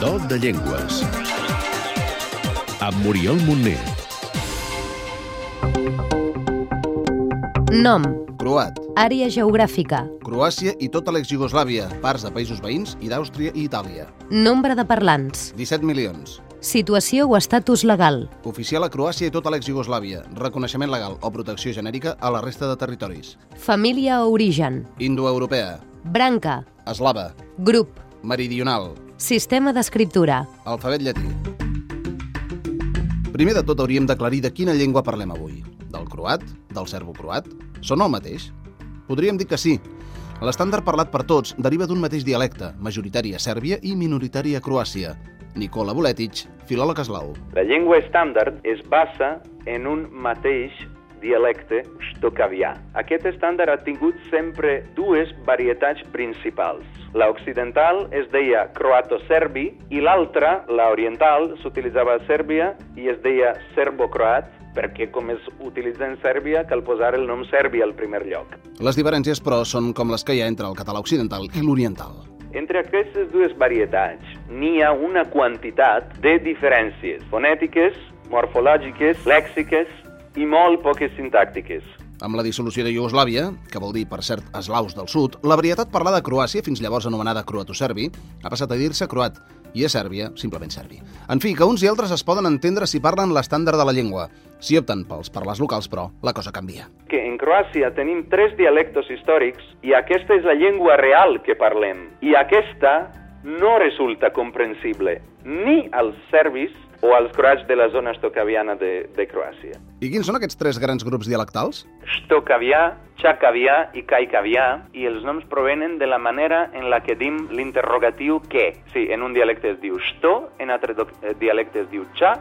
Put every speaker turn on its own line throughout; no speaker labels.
Raó de Llengües. Amb Muriel Montner.
Nom,
Croat,
àrea geogràfica,
Croàcia i tota l'ex-Jugoslàvia, parts de països veïns i d'Àustria i Itàlia.
nombre de parlants,
17 milions.
situació o estatus legal,
Oficial a Croàcia i tota l'ex-Jugoslàvia, reconeixement legal o protecció genèrica a la resta de territoris.
família o origen,
Indoeuropea,
branca,
eslava,
grup,
meridional,
sistema d'escriptura,
alfabet llatí. Primer de tot hauríem d'aclarir de quina llengua parlem avui. Del croat? Del serbo-croat? Són el mateix? Podríem dir que sí. L'estàndard parlat per tots deriva d'un mateix dialecte, majoritari a Sèrbia i minoritari a Croàcia. Nicola Boletic, filòleg eslau.
La llengua estàndard es basa en un mateix dialecte estocavià. Aquest estàndard ha tingut sempre dues varietats principals. La occidental es deia croato-serbi i l'altra, la oriental, s'utilitzava a Sèrbia i es deia serbo-croat perquè com es utilitza en Sèrbia cal posar el nom serbi al primer lloc.
Les diferències, però, són com les que hi ha entre el català occidental i l'oriental.
Entre aquestes dues varietats n'hi ha una quantitat de diferències fonètiques, morfològiques, lèxiques i molt poques sintàctiques.
Amb la dissolució de Iugoslàvia, que vol dir, per cert, eslaus del sud, la varietat parlada a Croàcia, fins llavors anomenada croatoserbi, ha passat a dir-se croat, i a Sèrbia, simplement serbi. En fi, que uns i altres es poden entendre si parlen l'estàndard de la llengua. Si opten pels parlars locals, però, la cosa canvia.
Que en Croàcia tenim tres dialectos històrics i aquesta és la llengua real que parlem. I aquesta no resulta comprensible ni als serbis o als croats de la zona estocaviana de, de Croàcia.
I quins són aquests tres grans grups dialectals?
Shtokavià, Xacavià i Caicavià, i els noms provenen de la manera en la que dim l'interrogatiu què. Sí, en un dialecte es diu shto, en altre doc- eh, dialecte es diu xa,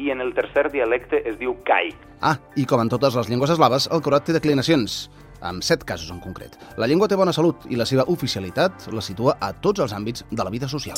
i en el tercer dialecte es diu kai.
Ah, i com en totes les llengües eslaves, el croat té declinacions, amb set casos en concret. La llengua té bona salut i la seva oficialitat la situa a tots els àmbits de la vida social.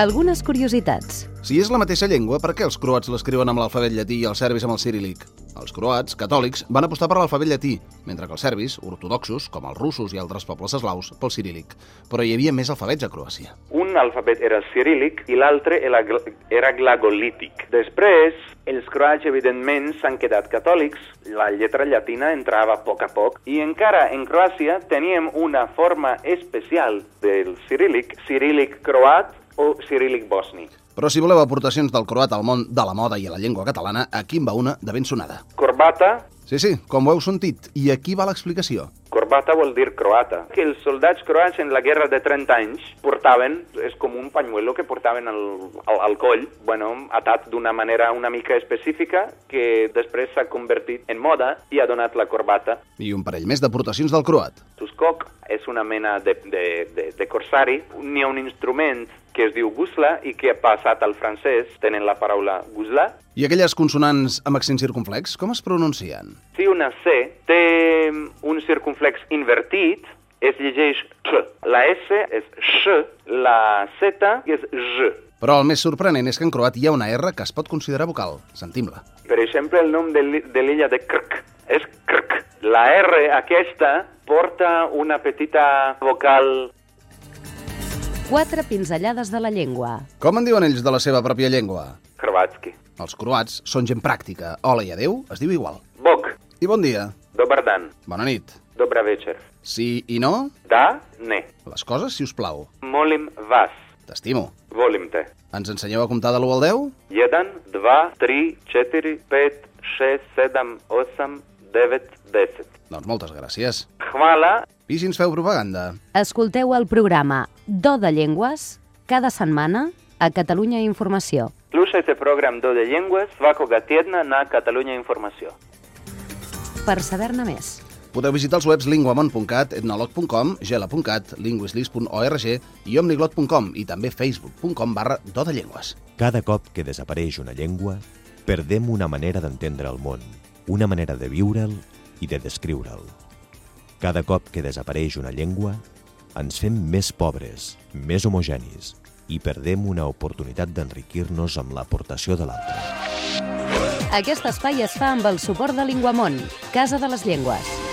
algunes curiositats.
Si és la mateixa llengua, per què els croats l'escriuen amb l'alfabet llatí i els serbis amb el cirílic? Els croats, catòlics, van apostar per l'alfabet llatí, mentre que els serbis, ortodoxos, com els russos i altres pobles eslaus, pel cirílic. Però hi havia més alfabets a Croàcia.
Un alfabet era ciríl·lic i l'altre era gl- era glagolític. Després, els croats, evidentment, s'han quedat catòlics. La lletra llatina entrava a poc a poc. I encara en Croàcia teníem una forma especial del ciríl·lic, ciríl·lic croat o ciríl·lic bosni.
Però si voleu aportacions del croat al món de la moda i a la llengua catalana, aquí en va una de ben sonada.
Corbata,
Sí, sí, com ho heu sentit, i aquí va l'explicació.
corbata vol dir croata. Que els soldats croats en la guerra de 30 anys portaven, és com un pañuelo que portaven al, al, al coll, bueno, atat d'una manera una mica específica que després s'ha convertit en moda i ha donat la corbata.
I un parell més d'aportacions del croat.
Tuskok és una mena de, de, de, de corsari. N'hi ha un instrument que es diu gusla i que ha passat al francès, tenen la paraula gusla,
I aquelles consonants amb accent circunflex, com es pronuncien?
Si una C té un circunflex invertit, es llegeix T. La S és X, la Z és J.
Però el més sorprenent és que en croat hi ha una R que es pot considerar vocal. Sentim-la.
Per exemple, el nom de l'il- de l'illa de Krk és Krk. La R aquesta porta una petita vocal
Quatre pinzellades de la llengua.
Com en diuen ells de la seva pròpia llengua?
croatski.
Els croats són gent pràctica. Hola i adeu es diu igual.
Bog,
I bon dia.
dobar dan,
Bona nit.
dobra večer.
Sí i no?
Da, ne.
Les coses, si us plau.
Molim vas,
T'estimo.
volim te.
Ens ensenyeu a comptar de l'1 al 10?
1, 2, 3, 4, 5, 6, 7, 8, 9, 10.
Doncs moltes gràcies.
Hvala
I si ens feu propaganda?
Escolteu el programa Do de Llengües cada setmana a Catalunya Informació.
Slušajte program Dode Ljengue svakoga tjedna na Katalunja Informacija.
Per saber-ne més,
Podeu visitar els webs linguamon.cat, etnolog.com, gela.cat, linguislis.org i omniglot.com i també facebook.com barra do de llengües.
Cada cop que desapareix una llengua, perdem una manera d'entendre el món, una manera de viure'l i de descriure'l. Cada cop que desapareix una llengua, ens fem més pobres, més homogenis i perdem una oportunitat d'enriquir-nos amb l'aportació de l'altre.
aquest espai es fa amb el suport de Linguamont, Casa de les Llengües.